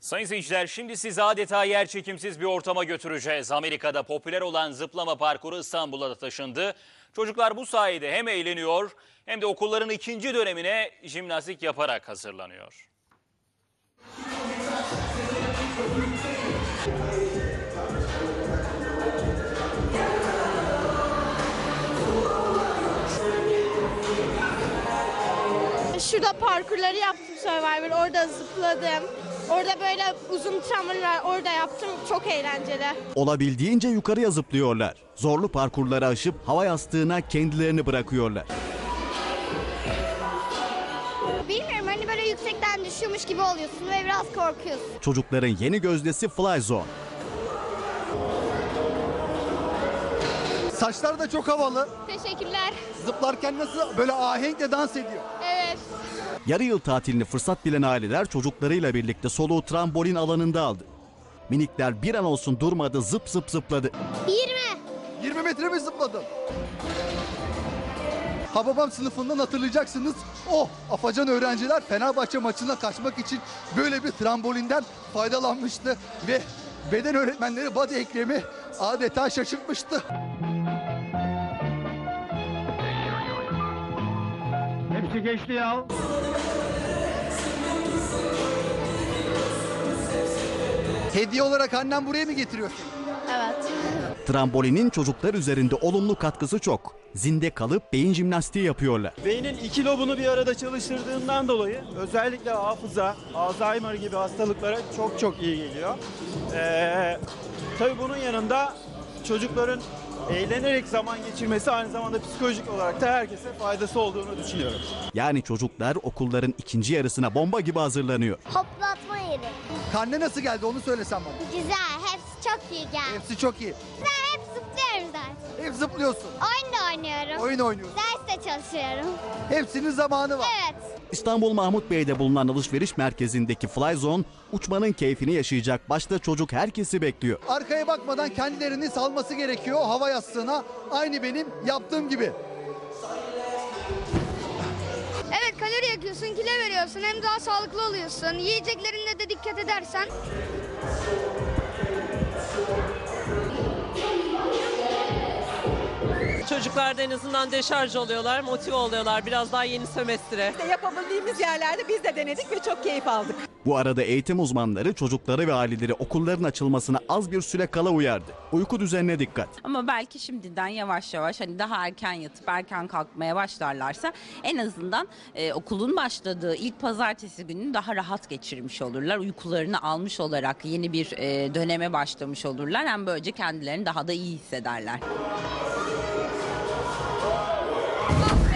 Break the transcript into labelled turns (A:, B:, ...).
A: Sayın seyirciler şimdi sizi adeta yer çekimsiz bir ortama götüreceğiz. Amerika'da popüler olan zıplama parkuru İstanbul'a da taşındı. Çocuklar bu sayede hem eğleniyor hem de okulların ikinci dönemine jimnastik yaparak hazırlanıyor.
B: Şurada parkurları yaptım Survivor, orada zıpladım. Orada böyle uzun tramvay var, orada yaptım. Çok eğlenceli.
C: Olabildiğince yukarıya zıplıyorlar. Zorlu parkurları aşıp hava yastığına kendilerini bırakıyorlar.
D: Bilmiyorum hani böyle yüksekten düşüyormuş gibi oluyorsun ve biraz korkuyorsun.
C: Çocukların yeni gözdesi Fly Zone.
E: Saçlar da çok havalı.
B: Teşekkürler.
E: Zıplarken nasıl böyle ahenkle dans ediyor.
B: Evet.
C: Yarı yıl tatilini fırsat bilen aileler çocuklarıyla birlikte soluğu trambolin alanında aldı. Minikler bir an olsun durmadı zıp zıp zıpladı.
D: 20.
E: 20 metre mi zıpladın? Hababam sınıfından hatırlayacaksınız. Oh afacan öğrenciler Fenerbahçe maçına kaçmak için böyle bir trambolinden faydalanmıştı. Ve beden öğretmenleri Badi Ekrem'i adeta şaşırtmıştı.
F: Hepsi geçti ya.
E: Hediye olarak annem buraya mı getiriyor?
B: Evet.
C: Trambolinin çocuklar üzerinde olumlu katkısı çok. Zinde kalıp beyin jimnastiği yapıyorlar.
G: Beynin iki lobunu bir arada çalıştırdığından dolayı özellikle hafıza, Alzheimer gibi hastalıklara çok çok iyi geliyor. Ee, tabii bunun yanında çocukların eğlenerek zaman geçirmesi aynı zamanda psikolojik olarak da herkese faydası olduğunu düşünüyorum.
C: Yani çocuklar okulların ikinci yarısına bomba gibi hazırlanıyor.
D: Hoplatma yeri.
E: Karne nasıl geldi onu söylesem bana.
D: Güzel. Hepsi çok iyi geldi.
E: Hepsi çok iyi.
D: Ben hep zıplıyorum zaten.
E: Hep zıplıyorsun.
D: Oyun da oynuyorum.
E: Oyun oynuyorsun.
D: Ders de çalışıyorum.
E: Hepsinin zamanı var.
D: Evet.
C: İstanbul Mahmut Bey'de bulunan alışveriş merkezindeki Fly Zone uçmanın keyfini yaşayacak başta çocuk herkesi bekliyor.
E: Arkaya bakmadan kendilerini salması gerekiyor hava yastığına. Aynı benim yaptığım gibi.
D: Evet kalori yakıyorsun, kilo veriyorsun. Hem daha sağlıklı oluyorsun. Yiyeceklerine de dikkat edersen.
H: Çocuklar da en azından deşarj oluyorlar, motive oluyorlar biraz daha yeni sömestre.
I: yapabildiğimiz yerlerde biz de denedik ve çok keyif aldık.
C: Bu arada eğitim uzmanları çocukları ve aileleri okulların açılmasına az bir süre kala uyardı. Uyku düzenine dikkat.
J: Ama belki şimdiden yavaş yavaş hani daha erken yatıp erken kalkmaya başlarlarsa en azından e, okulun başladığı ilk pazartesi gününü daha rahat geçirmiş olurlar. Uykularını almış olarak yeni bir e, döneme başlamış olurlar. Hem böylece kendilerini daha da iyi hissederler.
D: Bak